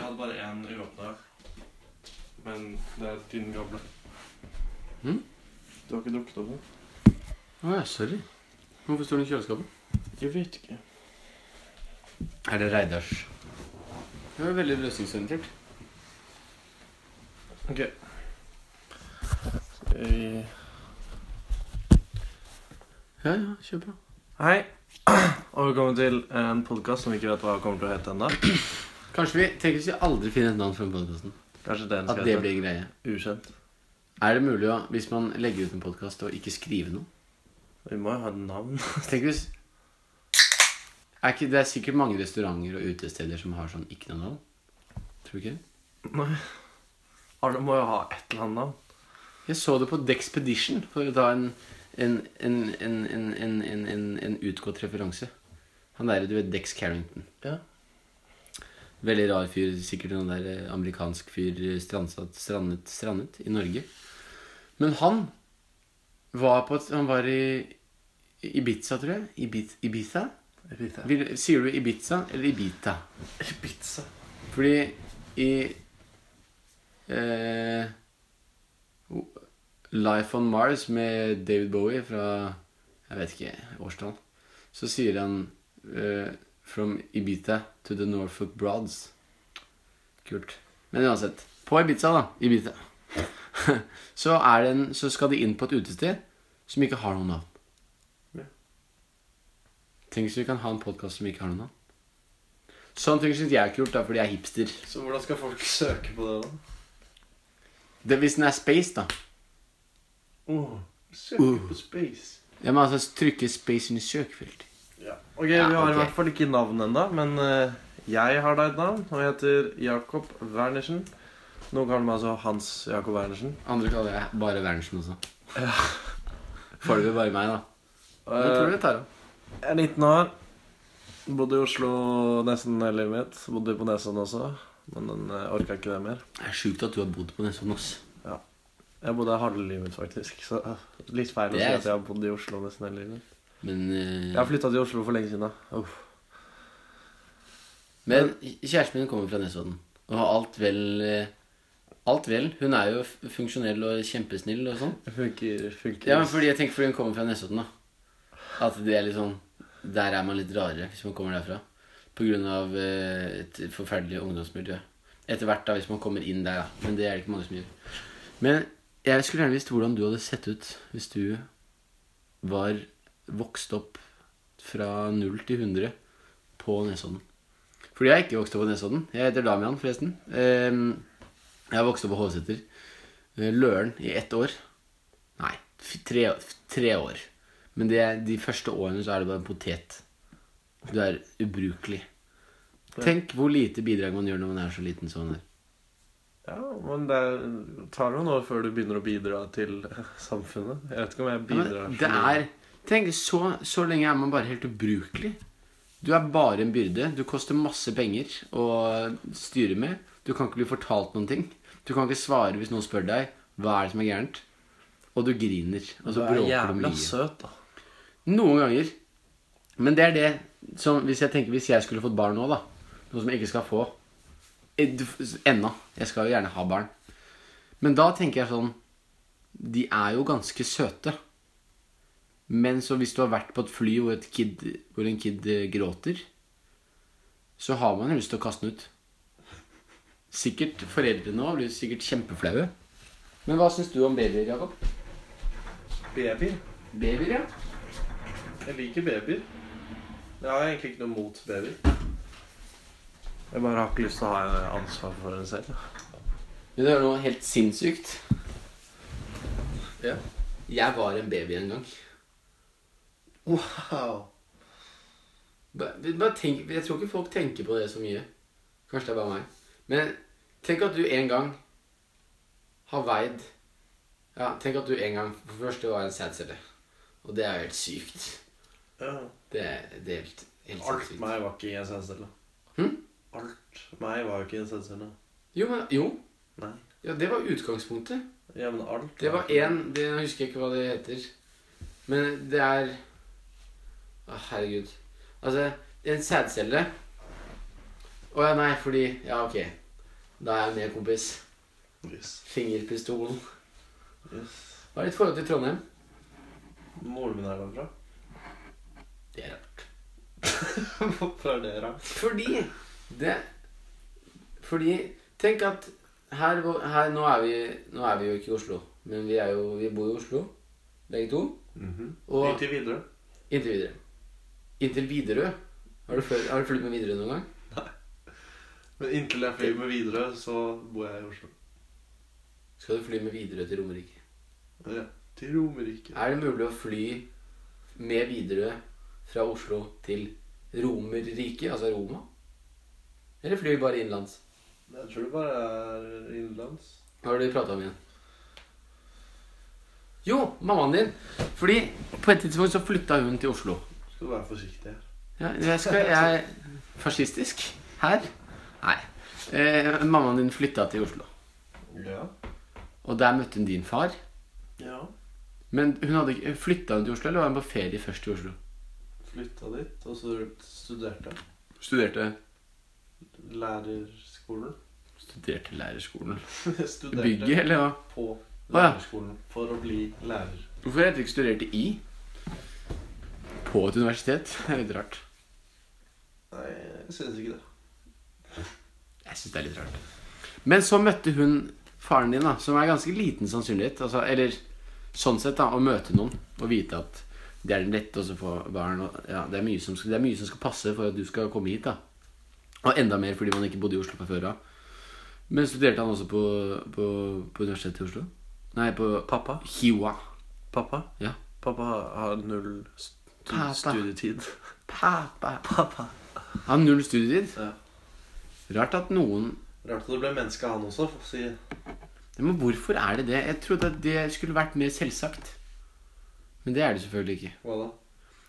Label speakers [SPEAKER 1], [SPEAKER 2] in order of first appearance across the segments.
[SPEAKER 1] hadde bare én uåpna. Men det er din gamle.
[SPEAKER 2] Mm.
[SPEAKER 1] Du har ikke drukket opp den?
[SPEAKER 2] Å ja, sorry. Hvorfor står den i kjøleskapet?
[SPEAKER 1] Jeg vet ikke.
[SPEAKER 2] Er det Reidars? Det var veldig løsningsorientert.
[SPEAKER 1] Ok. Skal vi
[SPEAKER 2] Ja, ja, kjør på.
[SPEAKER 1] Hei, og velkommen til en podkast som vi ikke vet hva kommer til å hete ennå.
[SPEAKER 2] Kanskje vi tenker hvis vi aldri finner et navn for den podkasten.
[SPEAKER 1] Kanskje den
[SPEAKER 2] At
[SPEAKER 1] skal
[SPEAKER 2] det
[SPEAKER 1] hete
[SPEAKER 2] blir en greie.
[SPEAKER 1] Ukjent.
[SPEAKER 2] Er det mulig å, hvis man legger ut en podkast og ikke skriver noe
[SPEAKER 1] Vi må jo ha et navn.
[SPEAKER 2] Tenk hvis er ikke, Det er sikkert mange restauranter og utesteder som har sånn ikke noe navn. Tror du ikke?
[SPEAKER 1] Nei. Alle må jo ha et eller annet navn.
[SPEAKER 2] Jeg så det på Dexpedition, for å ta en, en, en, en, en, en, en, en, en utgått referanse. Han derre, du vet Dex Carrington.
[SPEAKER 1] Ja.
[SPEAKER 2] Veldig rar fyr, sikkert noen der eh, amerikansk fyr eh, strandsatt, strandet, strandet i Norge. Men han var på et, Han var i i Ibiza, tror jeg. Ibiza? Ibiza?
[SPEAKER 1] Ibiza.
[SPEAKER 2] Vil, sier du Ibiza eller Ibita?
[SPEAKER 1] Ibiza.
[SPEAKER 2] Fordi i eh, o- Life on Mars med David Bowie fra Jeg vet ikke årstall. Så sier han eh, From Ibiza to the Norfolk Broads. Kult. Men uansett. På Ibiza, da. Ibiza. så, er det en, så skal de inn på et utested som ikke har noe navn.
[SPEAKER 1] Ja.
[SPEAKER 2] Tenk hvis vi kan ha en podkast som ikke har noe navn. Sånne ting syns jeg er kult, da, fordi jeg er hipster.
[SPEAKER 1] Så hvordan skal folk søke på det, da?
[SPEAKER 2] Det, hvis den er space, da.
[SPEAKER 1] Oh, søke
[SPEAKER 2] Uh.
[SPEAKER 1] på Space.
[SPEAKER 2] Jeg må altså trykke space inn i søkefeltet.
[SPEAKER 1] Ja. Ok, vi har
[SPEAKER 2] ok.
[SPEAKER 1] i hvert fall ikke navn ennå, men eh, jeg har da et navn, og jeg heter Jakob Wernersen. Nå kaller de meg altså Hans Jakob Wernersen.
[SPEAKER 2] Andre kaller jeg bare Wernersen også. Foreløpig bare meg, da. Men jeg
[SPEAKER 1] Eh,
[SPEAKER 2] tror du det tar av.
[SPEAKER 1] Jeg er 19 år. Bodde i Oslo nesten hele livet mitt. Bodde på Nesodden også, men den eh, orka ikke det mer.
[SPEAKER 2] Det er sjukt at du har bodd på Nesodden, ass.
[SPEAKER 1] Jeg bodde her halve livet mitt, faktisk. Så eh, litt feil å
[SPEAKER 2] Det
[SPEAKER 1] si
[SPEAKER 2] er-
[SPEAKER 1] at jeg har bodd i Oslo nesten hele livet.
[SPEAKER 2] Men, eh,
[SPEAKER 1] Jeg har flytta til Oslo for lenge siden, da. Uff.
[SPEAKER 2] men kjæresten min kommer fra Nesodden. Og har alt vel eh, Alt vel. Hun er jo f- funksjonell og kjempesnill og sånn.
[SPEAKER 1] Det funker. funker.
[SPEAKER 2] Ja, men fordi jeg tenker fordi hun kommer fra Nesodden, da. At det er litt sånn Der er man litt rarere hvis man kommer derfra. På grunn av eh, et forferdelig ungdomsmiljø. Etter hvert, da, hvis man kommer inn der, da. Men det er det ikke mange som gjør. Men jeg skulle gjerne visst hvordan du hadde sett ut hvis du var vokst opp fra 0 til 100 på Nesodden. Fordi jeg er ikke vokst opp på Nesodden. Jeg heter Damian, forresten. Ehm, Jeg har vokst opp på Håseter. Eh, Løren i ett år. Nei, f- tre, f- tre år. Men det, er- de første årene så er det bare en potet. Du er ubrukelig. Tenk hvor lite bidrag man gjør når man er så liten sånn som man er.
[SPEAKER 1] Ja, men det er- tar jo noe før du begynner å bidra til samfunnet. Jeg vet ikke om jeg
[SPEAKER 2] Ja,
[SPEAKER 1] bidrar
[SPEAKER 2] men
[SPEAKER 1] så
[SPEAKER 2] det
[SPEAKER 1] mye.
[SPEAKER 2] er Tenk, så, så lenge er man bare helt ubrukelig. Du er bare en byrde. Du koster masse penger å styre med. Du kan ikke bli fortalt noen ting. Du kan ikke svare hvis noen spør deg hva er det som er gærent. Og du griner. Og så
[SPEAKER 1] Du er
[SPEAKER 2] bråker du
[SPEAKER 1] jævla
[SPEAKER 2] mye.
[SPEAKER 1] søt, da.
[SPEAKER 2] Noen ganger. Men det er det som Hvis jeg tenker hvis jeg skulle fått barn nå, da Noe som jeg ikke skal få eh, Ed- ennå. Jeg skal jo gjerne ha barn. Men da tenker jeg sånn De er jo ganske søte. Men så hvis du har vært på et fly hvor, et kid, hvor en kid eh, gråter, så har man jo lyst til å kaste den ut. Sikkert Foreldrene òg blir sikkert kjempeflaue. Men hva syns du om babyer, Jakob?
[SPEAKER 1] Babyer.
[SPEAKER 2] Babyer, ja.
[SPEAKER 1] Jeg liker babyer. Jeg har egentlig ikke noe mot babyer. Jeg bare har ikke lyst til å ha ansvar for en selv.
[SPEAKER 2] Vil du høre noe helt sinnssykt? Ja. Jeg var en baby en gang.
[SPEAKER 1] Wow.
[SPEAKER 2] Bare, bare tenk, jeg tror ikke folk tenker på det så mye. Kanskje det er bare meg. Men tenk at du en gang har veid Ja, tenk at du en gang For det første var en sædcelle. Og det er jo helt sykt.
[SPEAKER 1] Ja.
[SPEAKER 2] Det er, det er helt, helt
[SPEAKER 1] Alt
[SPEAKER 2] sinnssykt.
[SPEAKER 1] meg var ikke i en sædcelle.
[SPEAKER 2] Hm?
[SPEAKER 1] Alt meg var jo ikke i en sædcelle.
[SPEAKER 2] Jo, men Jo.
[SPEAKER 1] Nei.
[SPEAKER 2] Ja, det var utgangspunktet.
[SPEAKER 1] Ja, men alt
[SPEAKER 2] Det var én det, Jeg husker ikke hva det heter. Men det er Å, herregud. Altså, en sædcelle Å ja, nei, fordi Ja, ok. Da er jeg med, kompis.
[SPEAKER 1] Yes.
[SPEAKER 2] Fingerpistolen.
[SPEAKER 1] yes.
[SPEAKER 2] Hva er ditt forhold til Trondheim?
[SPEAKER 1] Moren min er derfra.
[SPEAKER 2] Det er rart.
[SPEAKER 1] Hvorfor er det rart?
[SPEAKER 2] Fordi det Fordi Tenk at her, hvor- her nå, er vi, nå er vi jo ikke i Oslo, men vi, er jo, vi bor i Oslo, begge to. Og-
[SPEAKER 1] Inntil Mhm. videre.
[SPEAKER 2] Inntil videre. Inntil Widerøe. Har du flydd har du flydd med Widerøe noen gang?
[SPEAKER 1] Men inntil jeg flyr med videre, så bor jeg i Oslo.
[SPEAKER 2] Skal du fly med Widerøe til Romerike?
[SPEAKER 1] Ja. Til Romerike.
[SPEAKER 2] Er det mulig å fly med Widerøe fra Oslo til Romerriket, altså Roma? Eller flyr vi bare innenlands?
[SPEAKER 1] Jeg tror det bare er innenlands.
[SPEAKER 2] Hva var det vi prata om igjen? Jo, mammaen din. Fordi på et tidspunkt så flytta hun til Oslo.
[SPEAKER 1] Skal være forsiktig her.
[SPEAKER 2] Ja, jeg skal, jeg Fascistisk? Her? Nei. Eh, mammaen din flytta til Oslo.
[SPEAKER 1] Ja.
[SPEAKER 2] Og der møtte hun din far.
[SPEAKER 1] ja.
[SPEAKER 2] Men hun hadde ikke flytta hun til Oslo, eller var hun på ferie først til Oslo?
[SPEAKER 1] Flytta dit, og så studerte jeg.
[SPEAKER 2] Studerte
[SPEAKER 1] Lærerskolen.
[SPEAKER 2] Studerte lærerskolen.
[SPEAKER 1] Jeg studerte
[SPEAKER 2] Bygget, eller hva?
[SPEAKER 1] på
[SPEAKER 2] ja.
[SPEAKER 1] lærerskolen for å bli lærer.
[SPEAKER 2] Hvorfor heter det ikke studerte i? På et universitet? Det er litt rart.
[SPEAKER 1] Nei, jeg synes ikke det.
[SPEAKER 2] Jeg synes det er litt rart. Men så møtte hun faren din, da, som er ganske liten sannsynlighet. Altså, eller sånn sett, da, å møte noen og vite at det er den rette også for barn. Og, ja, det, er mye som skal, det er mye som skal passe for at du skal komme hit. da. Og enda mer fordi man ikke bodde i Oslo fra før av. Men studerte han også på, på, på Universitetet i Oslo? Nei, på
[SPEAKER 1] Pappa?
[SPEAKER 2] Hiwa.
[SPEAKER 1] Pappa?
[SPEAKER 2] Ja.
[SPEAKER 1] Pappa har null
[SPEAKER 2] Pappa.
[SPEAKER 1] studietid.
[SPEAKER 2] Pappa.
[SPEAKER 1] Pappa.
[SPEAKER 2] Han har null studietid.
[SPEAKER 1] Ja.
[SPEAKER 2] Rart at noen
[SPEAKER 1] Rart at det ble menneske han også, for å si
[SPEAKER 2] Men hvorfor er det det? Jeg trodde at det skulle vært mer selvsagt. Men det er det selvfølgelig ikke.
[SPEAKER 1] hva da?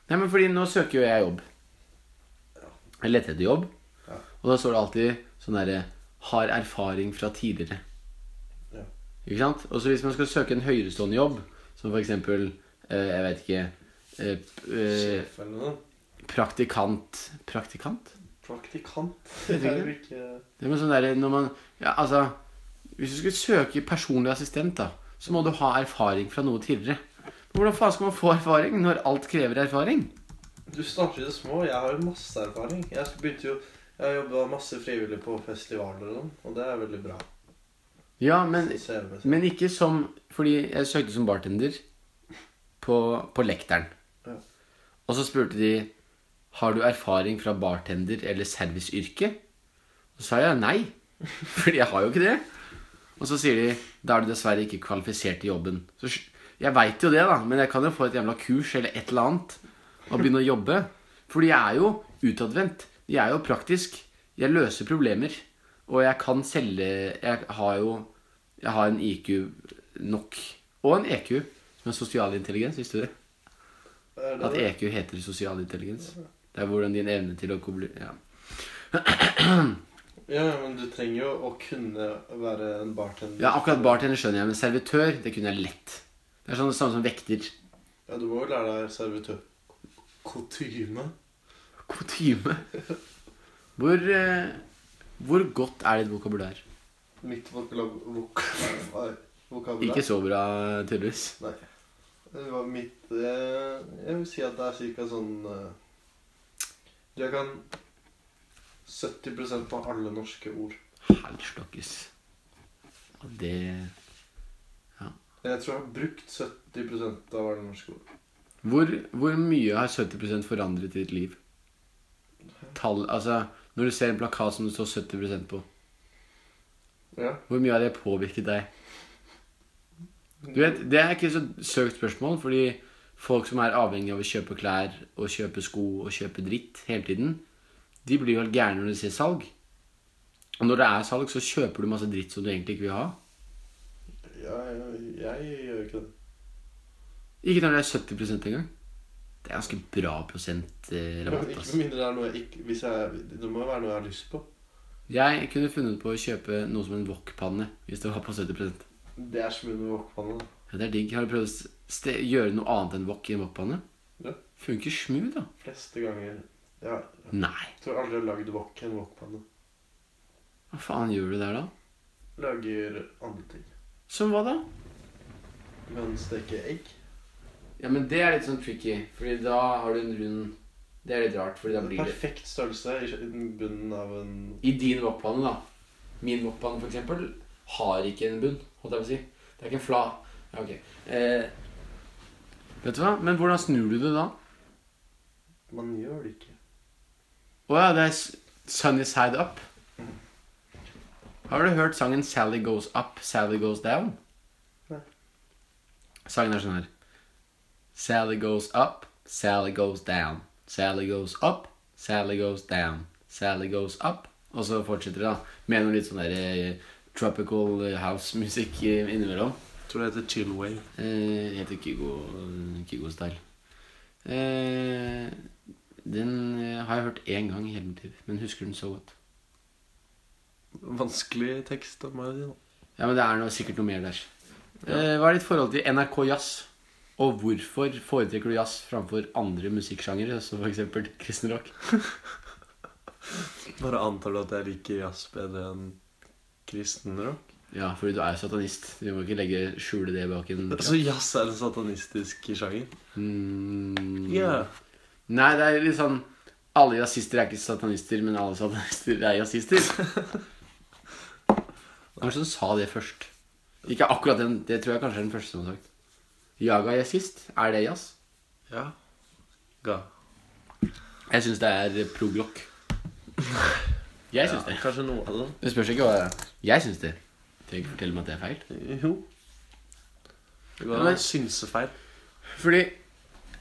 [SPEAKER 2] Nei, men fordi nå søker jo jeg jobb. Jeg leter etter jobb.
[SPEAKER 1] Ja.
[SPEAKER 2] Og da står det alltid sånn derre Har erfaring fra tidligere.
[SPEAKER 1] Ja.
[SPEAKER 2] Ikke sant? Og så hvis man skal søke en høyerestående jobb, som for eksempel eh, Jeg vet ikke eh, p- eh,
[SPEAKER 1] Sjef eller noe?
[SPEAKER 2] Praktikant Praktikant?
[SPEAKER 1] Praktikant?
[SPEAKER 2] Jeg
[SPEAKER 1] Det
[SPEAKER 2] tror
[SPEAKER 1] er jo ikke
[SPEAKER 2] Det med sånn derre når man Ja, altså Hvis du skulle søke personlig assistent, da, så må du ha erfaring fra noe tidligere. Men Hvordan faen skal man få erfaring når alt krever erfaring?
[SPEAKER 1] Du starter i det små. Jeg har jo masse erfaring. Jeg begynte jo Jeg har jobba masse frivillig på festivaler og sånn, og det er veldig bra.
[SPEAKER 2] Ja, men
[SPEAKER 1] CV-messig.
[SPEAKER 2] Men ikke som Fordi jeg søkte som bartender på, på lekteren.
[SPEAKER 1] Ja.
[SPEAKER 2] Og så spurte de Har du erfaring fra bartender eller serviceyrke. Og så sa jeg nei, fordi jeg har jo ikke det. Og så sier de da er du dessverre ikke kvalifisert til jobben. Så sk- jeg veit jo det, da, men jeg kan jo få et jævla kurs eller et eller annet og begynne å jobbe. Fordi jeg er jo utadvendt. Jeg er jo praktisk. Jeg løser problemer. Og jeg kan selge Jeg har jo Jeg har en IQ nok. Og en EQ, som er sosial intelligens. Visste du det?
[SPEAKER 1] Er det
[SPEAKER 2] At
[SPEAKER 1] det?
[SPEAKER 2] EQ heter sosial intelligens. Det er hvordan din evne til å koble ja.
[SPEAKER 1] Ja, men du trenger jo å kunne være en bartender.
[SPEAKER 2] ja, akkurat bartender skjønner jeg, men servitør, det kunne jeg lett. Det er sånn det samme som vekter.
[SPEAKER 1] Ja, du må jo lære deg servitør. Kutyme.
[SPEAKER 2] Kutyme. Hvor, eh, hvor godt er ditt vokabular?
[SPEAKER 1] Mitt vokalab... Vok nei, vokabular.
[SPEAKER 2] Ikke så bra, tydeligvis.
[SPEAKER 1] Nei. Det var mitt eh, Jeg vil si at det er cirka sånn eh, Jeg kan 70 av alle norske ord.
[SPEAKER 2] Helstokkes. Ja, det
[SPEAKER 1] Jeg tror jeg har brukt 70 av alle norske ord.
[SPEAKER 2] hvor, hvor mye har 70 forandret ditt liv? Tall Altså, når du ser en plakat som det står 70 på,
[SPEAKER 1] Ja.
[SPEAKER 2] hvor mye har det påvirket deg? Du vet, Det er ikke så søkt spørsmål, fordi folk som er avhengig av å kjøpe klær og kjøpe sko og kjøpe dritt hele tiden, de blir jo helt gærne når de ser salg. Og når det er salg, så kjøper du masse dritt som du egentlig ikke vil ha.
[SPEAKER 1] Ja, jeg, jeg gjør ikke det.
[SPEAKER 2] Ikke når det er 70 engang. Det er ganske bra prosent eh,
[SPEAKER 1] Ikke
[SPEAKER 2] rabatt.
[SPEAKER 1] med
[SPEAKER 2] Altså.
[SPEAKER 1] mindre det er noe jeg ikke hvis jeg, Det må jo være noe jeg har lyst på.
[SPEAKER 2] Jeg kunne funnet på å kjøpe noe som en wok-panne hvis det var på 70 ja,
[SPEAKER 1] Det er som under wokpanne.
[SPEAKER 2] Det er digg. Har du prøvd å ste- gjøre noe annet enn wok i en wok-panne?
[SPEAKER 1] Ja.
[SPEAKER 2] Funker smooth, da.
[SPEAKER 1] Fleste ganger. Ja, jeg
[SPEAKER 2] Nei.
[SPEAKER 1] tror aldri jeg har lagd wok i en wokpanne.
[SPEAKER 2] Hva faen gjør du der, da?
[SPEAKER 1] Lager andre ting.
[SPEAKER 2] Som hva da?
[SPEAKER 1] Du kan steke egg.
[SPEAKER 2] Ja, men det er litt sånn tricky, Fordi da har du en rund Det er litt rart, fordi da blir det
[SPEAKER 1] Perfekt størrelse i den bunnen av en
[SPEAKER 2] I din wokpanne, da. Min wokpanne, for eksempel, har ikke en bunn, holdt jeg på å si. Det er ikke en fla... Ja, ok. Eh, vet du hva? Men hvordan snur du det da?
[SPEAKER 1] Man gjør det ikke.
[SPEAKER 2] Å ja, det er s- Sunny Side Up. Har du hørt sangen 'Sally Goes Up, Sally Goes Down'?
[SPEAKER 1] Nei.
[SPEAKER 2] Sangen er sånn her Sally goes up, Sally goes down. Sally goes up, Sally goes down. Sally goes up. Og så fortsetter det, da. Med noe litt sånn der eh, tropical eh, house-musikk eh, innimellom.
[SPEAKER 1] Tror det heter chill wave.
[SPEAKER 2] Eh, heter Kygo Kygo Style. Eh, den eh, har jeg hørt én gang i hele mitt liv, men husker den så godt.
[SPEAKER 1] Vanskelig tekst av meg. da.
[SPEAKER 2] Ja, men det er noe, sikkert noe mer der. Eh, hva er ditt forhold til NRK jazz? Og hvorfor foretrekker du jazz framfor andre musikksjangere, som f.eks. kristen rock?
[SPEAKER 1] Bare antar du at jeg liker jazz bedre enn kristen rock?
[SPEAKER 2] Ja, fordi du er jo satanist. Du må ikke legge skjule det bak en
[SPEAKER 1] Så jazz er en satanistisk sjanger?
[SPEAKER 2] mm.
[SPEAKER 1] Ja.
[SPEAKER 2] Nei, det er litt sånn Alle jazzister er ikke satanister, men alle satanister er jazzister. Hvem var det som sa det først? Ikke akkurat den. Det tror jeg kanskje er den første som har sagt. Jaga jazzist. Er det jazz?
[SPEAKER 1] Ja. Ga.
[SPEAKER 2] Jeg syns det er prog-rock. Jeg syns det.
[SPEAKER 1] Kanskje noe av det.
[SPEAKER 2] Det spørs ikke hva det er. Jeg syns det. Trenger ikke fortelle meg at det er feil.
[SPEAKER 1] Jo. Det går
[SPEAKER 2] Men-
[SPEAKER 1] an å synse feil.
[SPEAKER 2] Fordi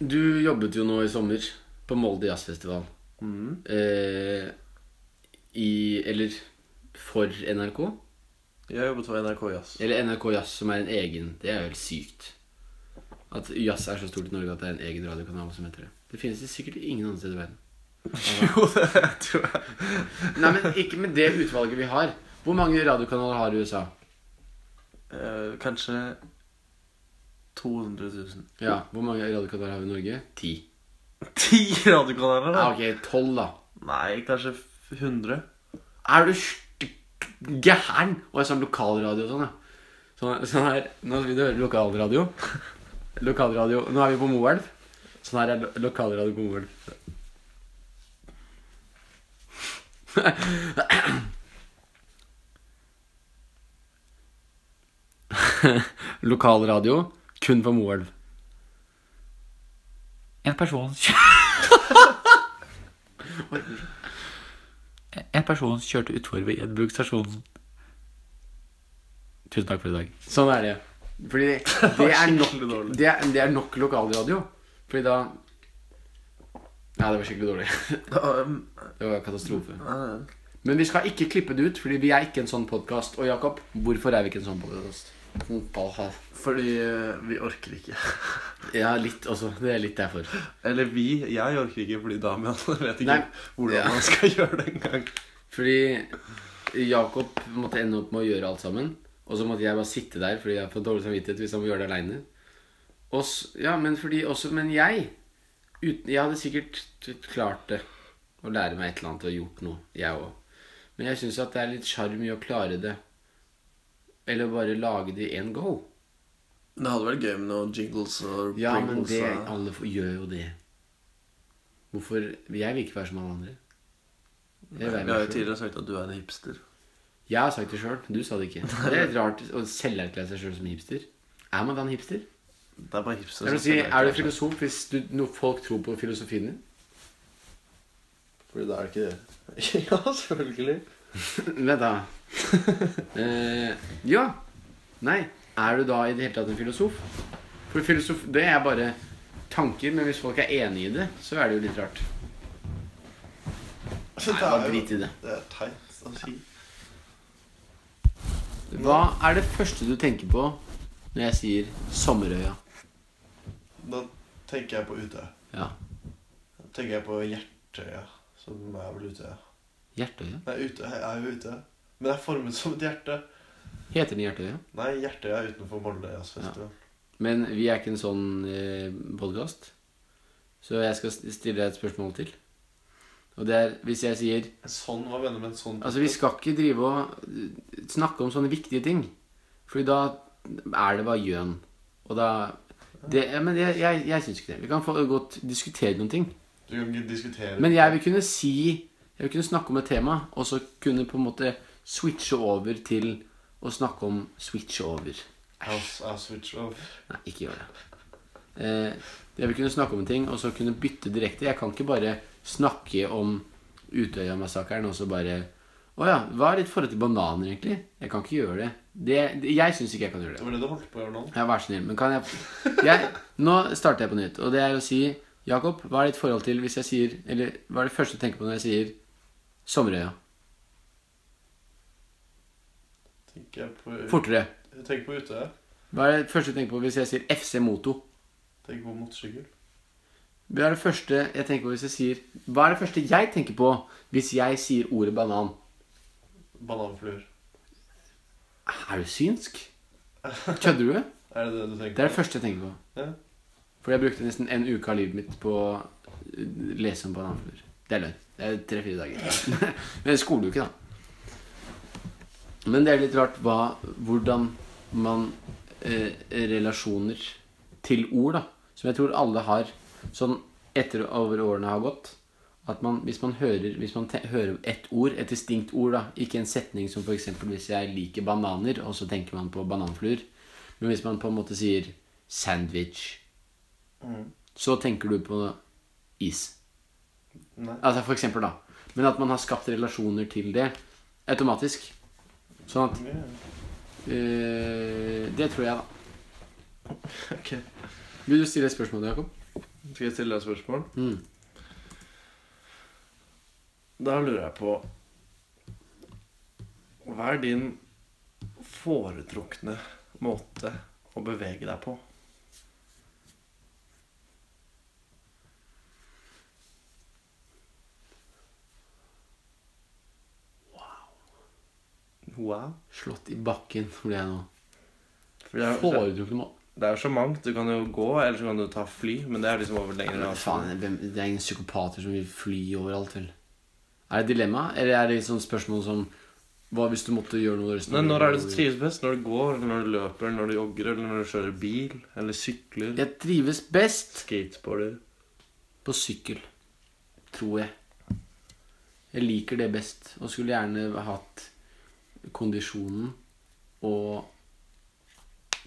[SPEAKER 2] du jobbet jo nå i sommer på Molde jazzfestival.
[SPEAKER 1] Mm.
[SPEAKER 2] Eh, I Eller for NRK.
[SPEAKER 1] Jeg har jobbet for NRK Jazz.
[SPEAKER 2] Eller NRK Jazz, som er en egen Det er jo helt sykt. At jazz er så stort i Norge at det er en egen radiokanal som heter det. Det finnes det sikkert ingen andre steder i verden.
[SPEAKER 1] Jo, det tror jeg.
[SPEAKER 2] Nei, men ikke med det utvalget vi har. Hvor mange radiokanaler har USA?
[SPEAKER 1] Eh, kanskje 200 000.
[SPEAKER 2] Ja, Hvor mange radiokanaler har vi i Norge? Ti.
[SPEAKER 1] Ti radiokanaler, da?
[SPEAKER 2] Ja, ok, tolv, da.
[SPEAKER 1] Nei, kanskje 100.
[SPEAKER 2] Er du st- gæren? Og jeg sa lokalradio og sånn, ja. Sånn, sånn her, Nå vil du høre lokalradio. Lokalradio Nå er vi på Moelv. Sånn her er lo- lokalradio på Moelv. lokalradio kun på Moelv.
[SPEAKER 3] En person En person kjørte utfor ved Edbrug stasjon. Tusen takk for i dag.
[SPEAKER 2] Sånn er det. Fordi det, det, er,
[SPEAKER 1] skikkelig
[SPEAKER 2] nok,
[SPEAKER 1] dårlig.
[SPEAKER 2] det, er, det er nok lokalradio. Fordi da Ja, det var skikkelig dårlig.
[SPEAKER 1] Um,
[SPEAKER 2] Det var katastrofe.
[SPEAKER 1] eh,
[SPEAKER 2] Men vi skal ikke klippe det ut, fordi vi er ikke en sånn podkast. Og Jakob, hvorfor er vi ikke en sånn podkast?
[SPEAKER 1] fordi eh, vi orker ikke.
[SPEAKER 2] Ja, litt også. Det er litt derfor.
[SPEAKER 1] Eller vi. Jeg orker ikke, fordi Damian vet ikke
[SPEAKER 2] Nei.
[SPEAKER 1] hvordan
[SPEAKER 2] Ja.
[SPEAKER 1] man skal gjøre det engang.
[SPEAKER 2] Fordi Jakob måtte ende opp med å gjøre alt sammen. Og så måtte jeg bare sitte der fordi jeg får dårlig samvittighet hvis jeg må gjøre det aleine. Ja, men fordi også Men jeg uten, Jeg hadde sikkert klart det. Å lære meg et eller annet og gjort noe, jeg òg. Men jeg syns at det er litt sjarm i å klare det. Eller bare lage det i én go.
[SPEAKER 1] Det hadde vært gøy med noen jingles og
[SPEAKER 2] Ja, men
[SPEAKER 1] pringles
[SPEAKER 2] det,
[SPEAKER 1] og-
[SPEAKER 2] alle f- gjør jo det. Hvorfor Jeg vil ikke være som alle andre.
[SPEAKER 1] Vi
[SPEAKER 2] Jeg, vil
[SPEAKER 1] har jo
[SPEAKER 2] være meg selv.
[SPEAKER 1] tidligere sagt at du er en hipster.
[SPEAKER 2] jeg har sagt det sjøl, du sa det ikke. Det er litt rart å selverklære seg sjøl som hipster. Er man da en hipster?
[SPEAKER 1] Det er sånn bare hipster
[SPEAKER 2] Jeg vil
[SPEAKER 1] som
[SPEAKER 2] si,
[SPEAKER 1] skal
[SPEAKER 2] er du
[SPEAKER 1] leke seg.
[SPEAKER 2] filosof hvis du, når folk tror på filosofien din?
[SPEAKER 1] Fordi da er det ikke det. ja, selvfølgelig.
[SPEAKER 2] Vent, da. Eh, ja. Nei. Er du da i det hele tatt en filosof? For filosof, det er bare tanker, men hvis folk er enig i det, så er det jo litt rart. Nei, bare drit i det.
[SPEAKER 1] Altså, Det er teit å si.
[SPEAKER 2] Hva er det første du tenker på når jeg sier Sommerøya?
[SPEAKER 1] Da tenker jeg på Utøya.
[SPEAKER 2] Ja.
[SPEAKER 1] Da tenker jeg på Hjertøya, som er vel Utøya.
[SPEAKER 2] Hjertøya?
[SPEAKER 1] Nei, Utøya er jo Utøya. Men det er formet som et hjerte.
[SPEAKER 2] Heter den Hjertøya?
[SPEAKER 1] Nei, Hjertøya er utenfor Molde jazzfestival.
[SPEAKER 2] Men vi er ikke en sånn eh, podkast, så jeg skal stille deg et spørsmål til. Og det er hvis jeg sier
[SPEAKER 1] En sånn, Hva mener du med en sånn?
[SPEAKER 2] Altså, vi skal ikke drive og eh, snakke om sånne viktige ting. Fordi da er det bare gjøn. Og da det, ja, Men jeg, jeg, jeg syns ikke det. Vi kan få godt diskutere noen ting.
[SPEAKER 1] Du kan ikke diskutere
[SPEAKER 2] Men jeg vil kunne si Jeg vil kunne snakke om et tema, og så kunne på en måte switche over til å snakke om switche over.
[SPEAKER 1] I'll, I'll switch off.
[SPEAKER 2] Nei, ikke gjør det. Eh, jeg vil kunne snakke om en ting, og så kunne bytte direkte. Jeg kan ikke bare snakke om Utøya-massakren og så bare Å ja, hva er ditt forhold til bananer, egentlig? Jeg kan ikke gjøre det. det, det jeg syns ikke jeg kan gjøre det.
[SPEAKER 1] Det var det du holdt på å gjøre nå.
[SPEAKER 2] Ja, vær så snill. Men kan jeg, jeg Nå starter jeg på nytt, og det er å si Jakob, hva er ditt forhold til hvis jeg sier Eller hva er det første du tenker på når jeg sier Sommerøya?
[SPEAKER 1] Tenker jeg på
[SPEAKER 2] Fortere.
[SPEAKER 1] Jeg tenker på Utøya.
[SPEAKER 2] Hva er det første du tenker på hvis jeg sier FC Moto?
[SPEAKER 1] Tenker på motorsykkel.
[SPEAKER 2] Hva er det første jeg tenker på hvis jeg sier Hva er det første jeg tenker på hvis jeg sier ordet banan?
[SPEAKER 1] Bananfluer.
[SPEAKER 2] Er du synsk? Kødder du?
[SPEAKER 1] Er det det du tenker
[SPEAKER 2] Det er det første jeg tenker på.
[SPEAKER 1] Ja.
[SPEAKER 2] Fordi jeg brukte nesten en uke av livet mitt på å lese om bananfluer. Det er løgn. Det er tre-fire dager. Men skoleuke, da. Men det er litt rart hva, hvordan man eh, Relasjoner til ord, da. Som jeg tror alle har sånn etter over årene har gått. At man, hvis man hører, hvis man te hører et ord, et distinkt ord, da, ikke en setning som f.eks. hvis jeg liker bananer, og så tenker man på bananfluer. Men hvis man på en måte sier sandwich,
[SPEAKER 1] Mm.
[SPEAKER 2] så tenker du på is.
[SPEAKER 1] Nei.
[SPEAKER 2] Altså for eksempel, da. Men at man har skapt relasjoner til det automatisk. Sånn at
[SPEAKER 1] Ja.
[SPEAKER 2] øh, Det tror jeg, da.
[SPEAKER 1] Ok.
[SPEAKER 2] Vil du stille et spørsmål, Jakob?
[SPEAKER 1] Skal jeg stille deg et spørsmål?
[SPEAKER 2] Mm.
[SPEAKER 1] Da lurer jeg på Hva er din foretrukne måte å bevege deg på? Wow.
[SPEAKER 2] Slått i bakken ble jeg nå.
[SPEAKER 1] For det, er,
[SPEAKER 2] Foretrukne mål.
[SPEAKER 1] det er så mangt. Du kan jo gå, eller så kan du ta fly. Men det er liksom over lengre avstand.
[SPEAKER 2] Faen, hvem- det er ingen psykopater som vil fly overalt, vel? Er det dilemma, eller er det sånn spørsmål som Hva hvis du måtte gjøre noe resten av
[SPEAKER 1] Men når er det
[SPEAKER 2] livet?
[SPEAKER 1] du trives best? Når du går, eller når du løper, eller når du jogger, eller når du kjører bil, eller sykler?
[SPEAKER 2] Jeg trives best
[SPEAKER 1] Skateboarder.
[SPEAKER 2] På sykkel, tror jeg. Jeg liker det best, og skulle gjerne hatt kondisjonen og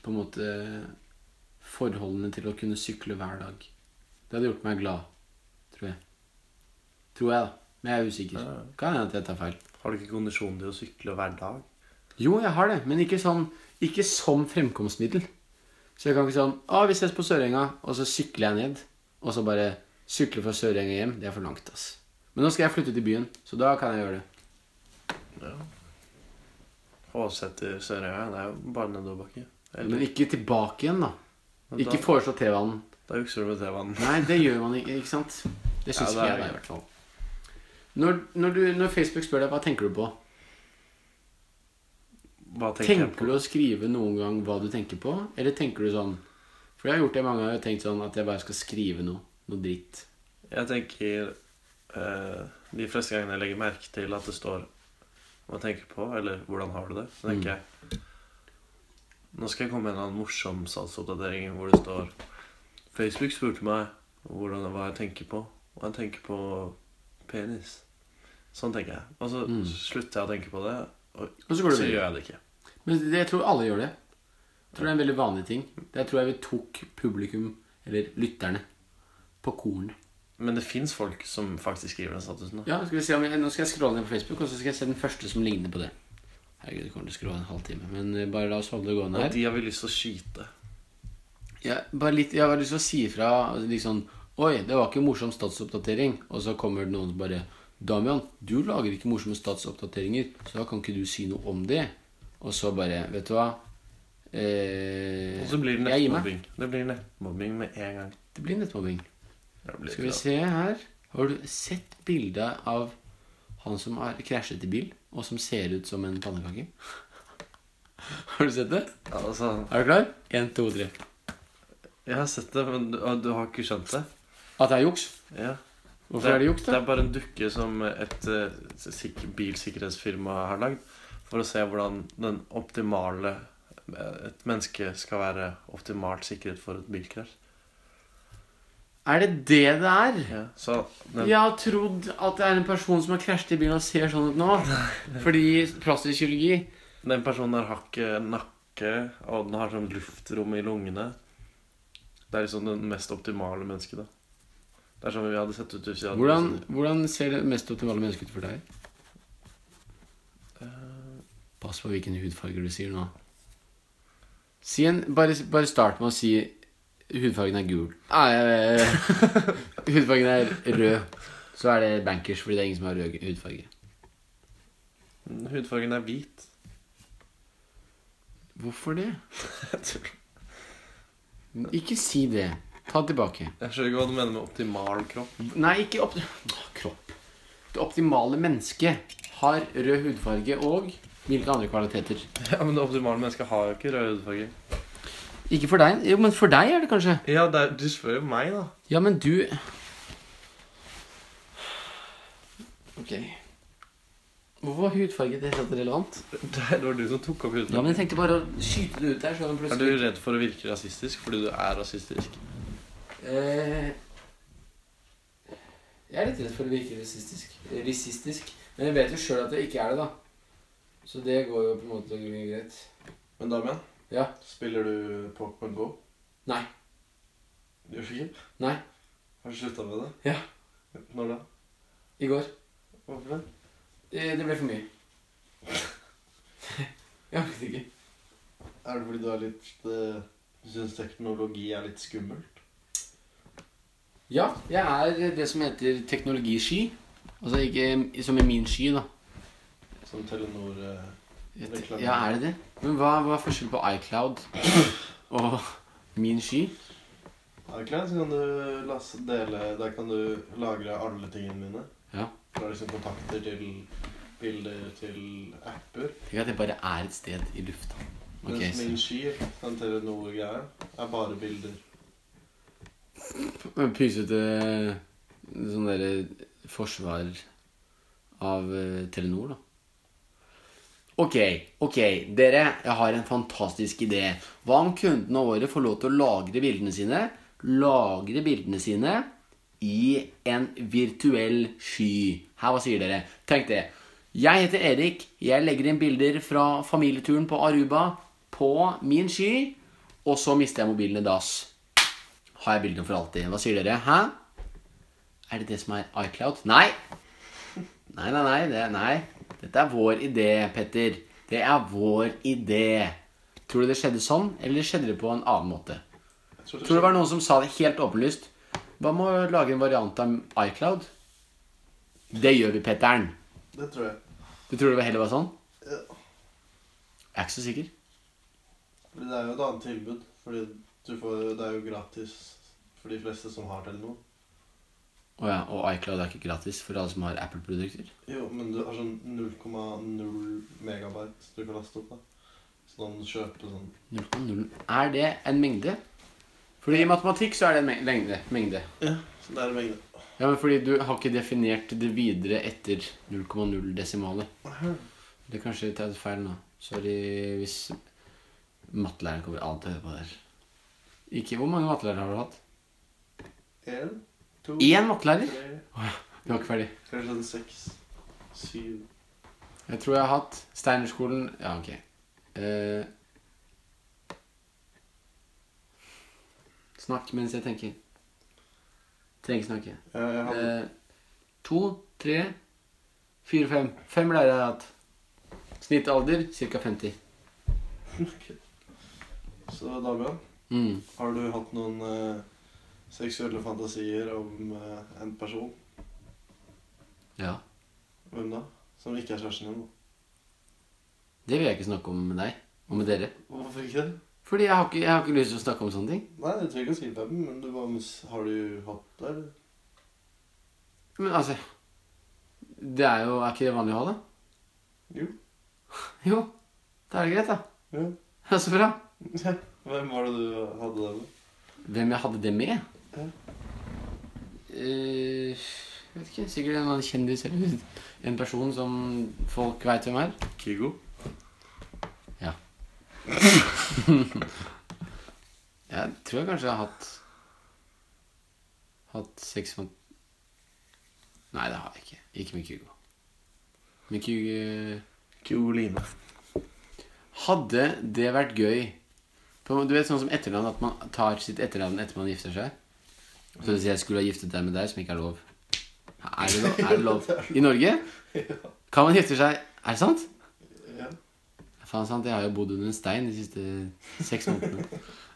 [SPEAKER 2] på en måte forholdene til å kunne sykle hver dag. Det hadde gjort meg glad, tror jeg. Tror jeg, da. Men jeg er usikker.
[SPEAKER 1] Ja.
[SPEAKER 2] Kan hende at jeg tar feil.
[SPEAKER 1] Har du ikke kondisjon til å sykle hver dag?
[SPEAKER 2] Jo, jeg har det, men ikke, sånn, ikke som fremkomstmiddel. Så jeg kan ikke sånn Å, vi ses på Sørenga, og så sykler jeg ned. Og så bare sykle fra Sørenga hjem. Det er for langt, ass. Men nå skal jeg flytte til byen, så da kan jeg gjøre det.
[SPEAKER 1] Åseter Sørøya, det er jo bare nedoverbakke.
[SPEAKER 2] Men
[SPEAKER 1] Eller
[SPEAKER 2] ikke tilbake igjen, da.
[SPEAKER 1] Men da-
[SPEAKER 2] Ikke foreslå T-banen.
[SPEAKER 1] Da jukser du med T-banen.
[SPEAKER 2] Nei, det gjør man ikke, ikke sant? Det
[SPEAKER 1] Ja, det
[SPEAKER 2] syns ikke
[SPEAKER 1] er
[SPEAKER 2] jeg, da,
[SPEAKER 1] det.
[SPEAKER 2] i hvert fall. Når, når, du, når Facebook spør deg hva tenker du på,
[SPEAKER 1] Hva tenker,
[SPEAKER 2] tenker du å skrive noen gang hva du tenker på, eller tenker du sånn For jeg har gjort det mange ganger og tenkt sånn at jeg bare skal skrive noe. Noe dritt.
[SPEAKER 1] jeg på? Jeg tenker eh, De fleste gangene jeg legger merke til at det står hva jeg tenker på, eller hvordan har du det, så
[SPEAKER 2] Mm.
[SPEAKER 1] tenker jeg Nå skal jeg komme med en eller annen morsom salgsoppdatering hvor det står Facebook spurte meg hvordan, hva jeg tenker på, og jeg tenker på penis. Sånn tenker jeg. Og så
[SPEAKER 2] Mm.
[SPEAKER 1] slutter jeg å tenke på det, og
[SPEAKER 2] Og så går
[SPEAKER 1] så
[SPEAKER 2] du videre.
[SPEAKER 1] gjør jeg det ikke.
[SPEAKER 2] Men det, jeg tror alle gjør det. Jeg tror det er en veldig vanlig ting. Det tror jeg vi tok publikum, eller lytterne, på kornet.
[SPEAKER 1] Men det fins folk som faktisk skriver den statusen. da
[SPEAKER 2] Ja, skal vi se om jeg, Nå skal jeg scrolle ned på Facebook, og så skal jeg se den første som ligner på det. Herregud, det kommer til å skrolle en halvtime. Men eh, bare la oss holde det gående
[SPEAKER 1] Og
[SPEAKER 2] her.
[SPEAKER 1] de har vi lyst til å skyte.
[SPEAKER 2] Ja, bare litt, jeg har bare lyst til å si ifra liksom Oi, det var ikke en morsom statsoppdatering. Og så kommer det noen som bare Damian, du lager ikke morsomme statsoppdateringer, så da kan ikke du si noe om det. Og så bare Vet du hva? Eh,
[SPEAKER 1] Og så blir det
[SPEAKER 2] jeg gir meg.
[SPEAKER 1] nettmobbing. Det blir nettmobbing med en gang.
[SPEAKER 2] Det blir nettmobbing.
[SPEAKER 1] Det blir
[SPEAKER 2] Skal vi
[SPEAKER 1] bra.
[SPEAKER 2] se her Har du sett bildet av han som har krasjet i bil, og som ser ut som en pannekake? Har du sett det?
[SPEAKER 1] Altså,
[SPEAKER 2] Er du klar? Én, to, tre.
[SPEAKER 1] jeg har sett det, men du, og du har ikke skjønt det?
[SPEAKER 2] At det er juks?
[SPEAKER 1] Ja.
[SPEAKER 2] Hvorfor er det juks,
[SPEAKER 1] Det
[SPEAKER 2] da?
[SPEAKER 1] er bare en dukke som et eh, sik bilsikkerhetsfirma har lagd for å se hvordan den optimale eh, Et menneske skal være optimalt sikret for et bilkrasj.
[SPEAKER 2] Er det det det er?
[SPEAKER 1] Ja, så den,
[SPEAKER 2] Jeg har trodd at det er en person som har krasjet i bilen og ser sånn ut nå. Fordi plastisk kirurgi
[SPEAKER 1] den personen der har ikke nakke, og den har sånn luftrom i lungene. Det er liksom den mest optimale mennesket, da. Det er sånn vi hadde sett ut hvis vi hadde
[SPEAKER 2] hvordan, hvordan ser det mest optimale mennesket ut for deg? Pass på hvilken hudfarge du sier nå. Si en, bare, bare start med å si hudfargen er gul. Nei, eh, hudfargen er rød. Så er det bankers, fordi det er ingen som har rød hudfarge.
[SPEAKER 1] Mm, Hudfargen er hvit.
[SPEAKER 2] Hvorfor det? Ikke si det. Ta det tilbake.
[SPEAKER 1] Jeg skjønner ikke hva du mener med optimal kropp.
[SPEAKER 2] Nei, ikke opp... Åh, kropp. Det optimale mennesket har rød hudfarge og hvilke andre kvaliteter?
[SPEAKER 1] Ja, Men det optimale mennesket har jo ikke rød hudfarge.
[SPEAKER 2] Ikke for deg, jo, men for deg er det kanskje.
[SPEAKER 1] Ja, det er, du spør jo meg, da.
[SPEAKER 2] Ja, men du Ok. Hvorfor var hudfarge det helt relevant?
[SPEAKER 1] Det var du som tok opp
[SPEAKER 2] Ja, men
[SPEAKER 1] hudfargen.
[SPEAKER 2] jeg tenkte bare å skyte det ut der, så var det
[SPEAKER 1] er du
[SPEAKER 2] plutselig
[SPEAKER 1] redd for å virke rasistisk fordi du er rasistisk?
[SPEAKER 2] eh, Jeg er litt redd for å virke rasistisk. eh, rasistisk. Men jeg vet jo sjøl at jeg ikke er det, da. Så det går jo på en måte greit.
[SPEAKER 1] Men Damian,
[SPEAKER 2] Ja.
[SPEAKER 1] spiller du Pokémon Go?
[SPEAKER 2] Nei.
[SPEAKER 1] Gjør du ikke?
[SPEAKER 2] Nei.
[SPEAKER 1] Har du slutta med det?
[SPEAKER 2] Ja.
[SPEAKER 1] Når da?
[SPEAKER 2] I går.
[SPEAKER 1] Hvorfor det?
[SPEAKER 2] Eh, Det ble for mye. Jeg orket ikke.
[SPEAKER 1] Er det fordi du er litt eh, Du syns teknologi er litt skummelt?
[SPEAKER 2] Ja, jeg er det som heter teknologisky. Altså ikke som i min sky, da.
[SPEAKER 1] Som Telenor eh, Reklame.
[SPEAKER 2] Ja, er det det? Men hva, hva er forskjellen på iCloud og min sky?
[SPEAKER 1] er klar, så kan du laste, dele Der kan du lagre alle tingene mine.
[SPEAKER 2] Ja.
[SPEAKER 1] Fra liksom kontakter til bilder til apper.
[SPEAKER 2] Tenk at det bare er et sted i lufta. Ok,
[SPEAKER 1] Mens min sånn
[SPEAKER 2] så
[SPEAKER 1] sky, den Telenor-greia, er bare bilder.
[SPEAKER 2] Men Pysete sånn derre forsvar av eh, Telenor, da. Ok, ok, dere, jeg har en fantastisk idé. Hva om kundene våre får lov til å lagre bildene sine? Lagre bildene sine i en virtuell sky. Her, hva sier dere? Tenk det. Jeg heter Erik. Jeg legger inn bilder fra familieturen på Aruba på min sky. Og så mister jeg mobilen i dass. Har jeg bildene for alltid. Hva sier dere? Hæ? Er det det som er iCloud? Nei! Nei, nei, nei. Det, nei. Dette er vår idé, Petter. Det er vår idé. Tror du det skjedde sånn, eller skjedde det på en annen måte?
[SPEAKER 1] Jeg tror
[SPEAKER 2] Tror det var noen som sa det helt åpenlyst. Hva med å lage en variant av iCloud? Det gjør vi, Petter'n.
[SPEAKER 1] Det tror jeg.
[SPEAKER 2] Du tror det var heller var sånn?
[SPEAKER 1] Ja.
[SPEAKER 2] Jeg er ikke så sikker.
[SPEAKER 1] Fordi det er jo et annet tilbud. Fordi du får, det er jo gratis for de fleste som har Telenor.
[SPEAKER 2] Å ja, og iCloud er ikke gratis for alle som har Apple-produkter.
[SPEAKER 1] Jo, men du har sånn 0,0 megabyte du kan laste opp, da. Så da må du kjøpe sånn
[SPEAKER 2] 0,0 Er det en mengde? Fordi i matematikk så er det en me- lengde, mengde.
[SPEAKER 1] Ja, så det er en mengde.
[SPEAKER 2] Ja, men fordi du har ikke definert det videre etter 0,0 desimale. Det er kanskje litt feil nå. Sorry hvis mattelæreren kommer an til å høre på det her. Ikke Hvor mange mattelærere har du hatt?
[SPEAKER 1] Én, to,
[SPEAKER 2] Én mattelærer?
[SPEAKER 1] tre
[SPEAKER 2] Du var ikke ferdig.
[SPEAKER 1] Kanskje sånn seks, syv
[SPEAKER 2] Jeg tror jeg har hatt Steinerskolen Ja, ok. Eh, snakk mens jeg tenker. Trenger ikke snakke.
[SPEAKER 1] Ja, jeg hadde
[SPEAKER 2] Eh, to, tre, fire, fem. Fem lærere har jeg hatt. Snittalder ca. 50.
[SPEAKER 1] Så Damian,
[SPEAKER 2] Mm.
[SPEAKER 1] har du hatt noen eh, seksuelle fantasier om eh, en person?
[SPEAKER 2] Ja.
[SPEAKER 1] Hvem da? Som ikke er kjæresten din? da?
[SPEAKER 2] Det vil jeg ikke snakke om med deg. Og med dere.
[SPEAKER 1] Hvorfor ikke det?
[SPEAKER 2] Fordi jeg har ikke, jeg har ikke lyst til å snakke om sånne ting.
[SPEAKER 1] Nei, jeg trenger ikke å si hvem, men du bare, mus- har du hatt det, eller?
[SPEAKER 2] Men altså Det er jo Er ikke det vanlig å ha det?
[SPEAKER 1] Jo.
[SPEAKER 2] Jo. Da er det greit, da.
[SPEAKER 1] Ja.
[SPEAKER 2] Ja, så bra.
[SPEAKER 1] Hvem var det du hadde det med?
[SPEAKER 2] Hvem jeg hadde det med?
[SPEAKER 1] Ja.
[SPEAKER 2] Eh, Jeg vet ikke, Sikkert en eller annen kjendis eller en person som folk veit hvem er.
[SPEAKER 1] Kygo?
[SPEAKER 2] Jeg tror jeg kanskje jeg har hatt Hatt sex med Nei, det har jeg ikke. Ikke med Kygo. Med Kygo
[SPEAKER 1] Kyoline.
[SPEAKER 2] Hadde det vært gøy på, Du vet sånn som etternavn, at man tar sitt etternavn etter man gifter seg? Så hvis jeg skulle ha giftet deg med deg, som ikke er lov Er det lov? Er det lov? I Norge? Kan man gifte seg Er det sant?
[SPEAKER 4] Ja.
[SPEAKER 2] Faen sant, jeg har jo bodd under en stein de siste seks månedene.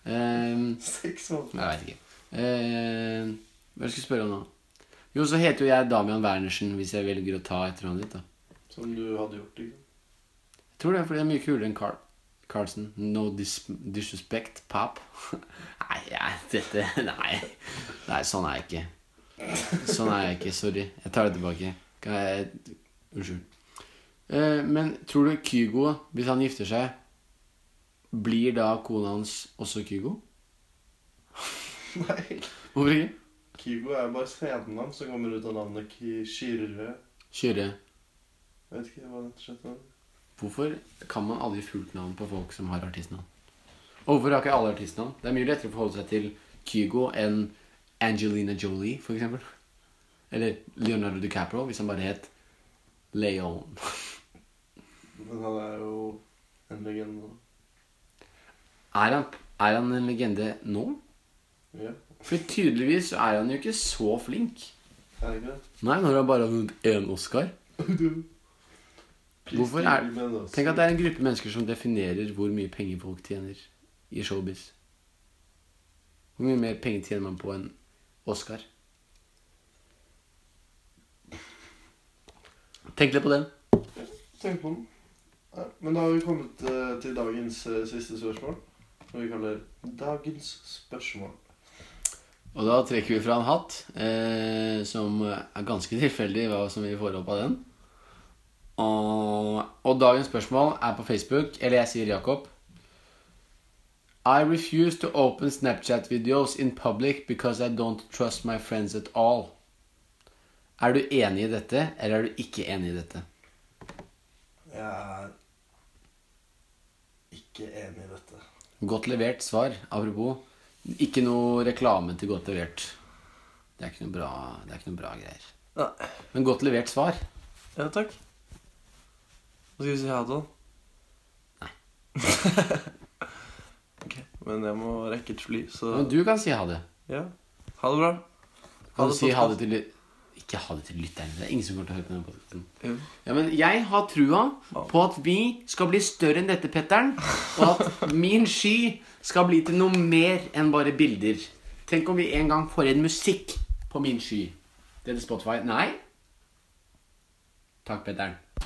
[SPEAKER 2] Ehm,
[SPEAKER 4] Seks måneder.
[SPEAKER 2] jeg veit ikke. Eh, hva skal jeg spørre om nå? Jo, så heter jo jeg Damian Wernersen hvis jeg velger å ta etternavnet ditt. da.
[SPEAKER 4] Som du hadde gjort, liksom.
[SPEAKER 2] Jeg tror det er fordi det er mye kulere enn Carl Carlsen. No dis disrespect, pap. nei, jeg, dette Nei. Nei, sånn er jeg ikke. Sånn er jeg ikke. Sorry. Jeg tar det tilbake. Kan jeg, unnskyld. Eh, men tror du Kygo, hvis han gifter seg, blir da kona hans også Kygo?
[SPEAKER 4] Nei.
[SPEAKER 2] Hvorfor ikke?
[SPEAKER 4] Kygo er bare scenenavn som kommer ut av navnet Ky- Kyrre.
[SPEAKER 2] Kyrre.
[SPEAKER 4] Jeg vet ikke hva det skjedde med det.
[SPEAKER 2] Hvorfor kan man aldri fullt navn på folk som har artistnavn? Og hvorfor har ikke alle artistnavn? Det er mye lettere å forholde seg til Kygo enn Angelina Jolie, for eksempel. Eller Leonardo DiCaprio, hvis han bare het Leon.
[SPEAKER 4] Men han er jo en legende.
[SPEAKER 2] Er han, er han en legende nå?
[SPEAKER 4] da. Ja,
[SPEAKER 2] For tydeligvis så er han jo ikke så flink.
[SPEAKER 4] er det ikke det?
[SPEAKER 2] Nei, når han bare har vunnet én Oscar.
[SPEAKER 4] Please
[SPEAKER 2] Hvorfor
[SPEAKER 4] deal
[SPEAKER 2] er-
[SPEAKER 4] med oss.
[SPEAKER 2] Tenk at det er en gruppe mennesker som definerer hvor mye penger folk tjener i showbiz. Hvor mye mer penger tjener man på en Oscar? Tenk litt på den.
[SPEAKER 4] Tenk på den. Ja, Men da har vi kommet eh, til dagens eh, siste spørsmål. Som vi kaller dagens spørsmål.
[SPEAKER 2] Og da trekker vi fra en hatt, eh, som er ganske tilfeldig hva som vi får opp av den. Og, og dagens spørsmål er på Facebook, eller jeg sier Jakob. I refuse to open Snapchat videos in public because I don't trust my friends at all. Er du enig i dette, eller er du ikke enig i dette?
[SPEAKER 4] Jeg er ikke enig i dette.
[SPEAKER 2] Godt levert svar, apropos. Ikke noe reklame til godt levert. Det er ikke noe bra, det er ikke noe bra greier.
[SPEAKER 1] Nei.
[SPEAKER 2] Men godt levert svar.
[SPEAKER 1] Ja, takk. Hva skal vi si ha til?
[SPEAKER 2] Nei.
[SPEAKER 1] ok, men jeg må rekke et fly, så
[SPEAKER 2] Men du kan si ha det.
[SPEAKER 1] ja. Ha det bra.
[SPEAKER 2] Kan du si ha det
[SPEAKER 1] podcast.
[SPEAKER 2] til ly- Ikke ha det til lytterne. Det er ingen som kommer til å høre på denne podcasten.
[SPEAKER 1] Jo.
[SPEAKER 2] Ja, men jeg har trua på at vi skal bli større enn dette, Petteren. Og at min sky skal bli til noe mer enn bare bilder. Tenk om vi en gang får inn musikk på min sky. Det er det Spotify. Nei. Takk, Petteren.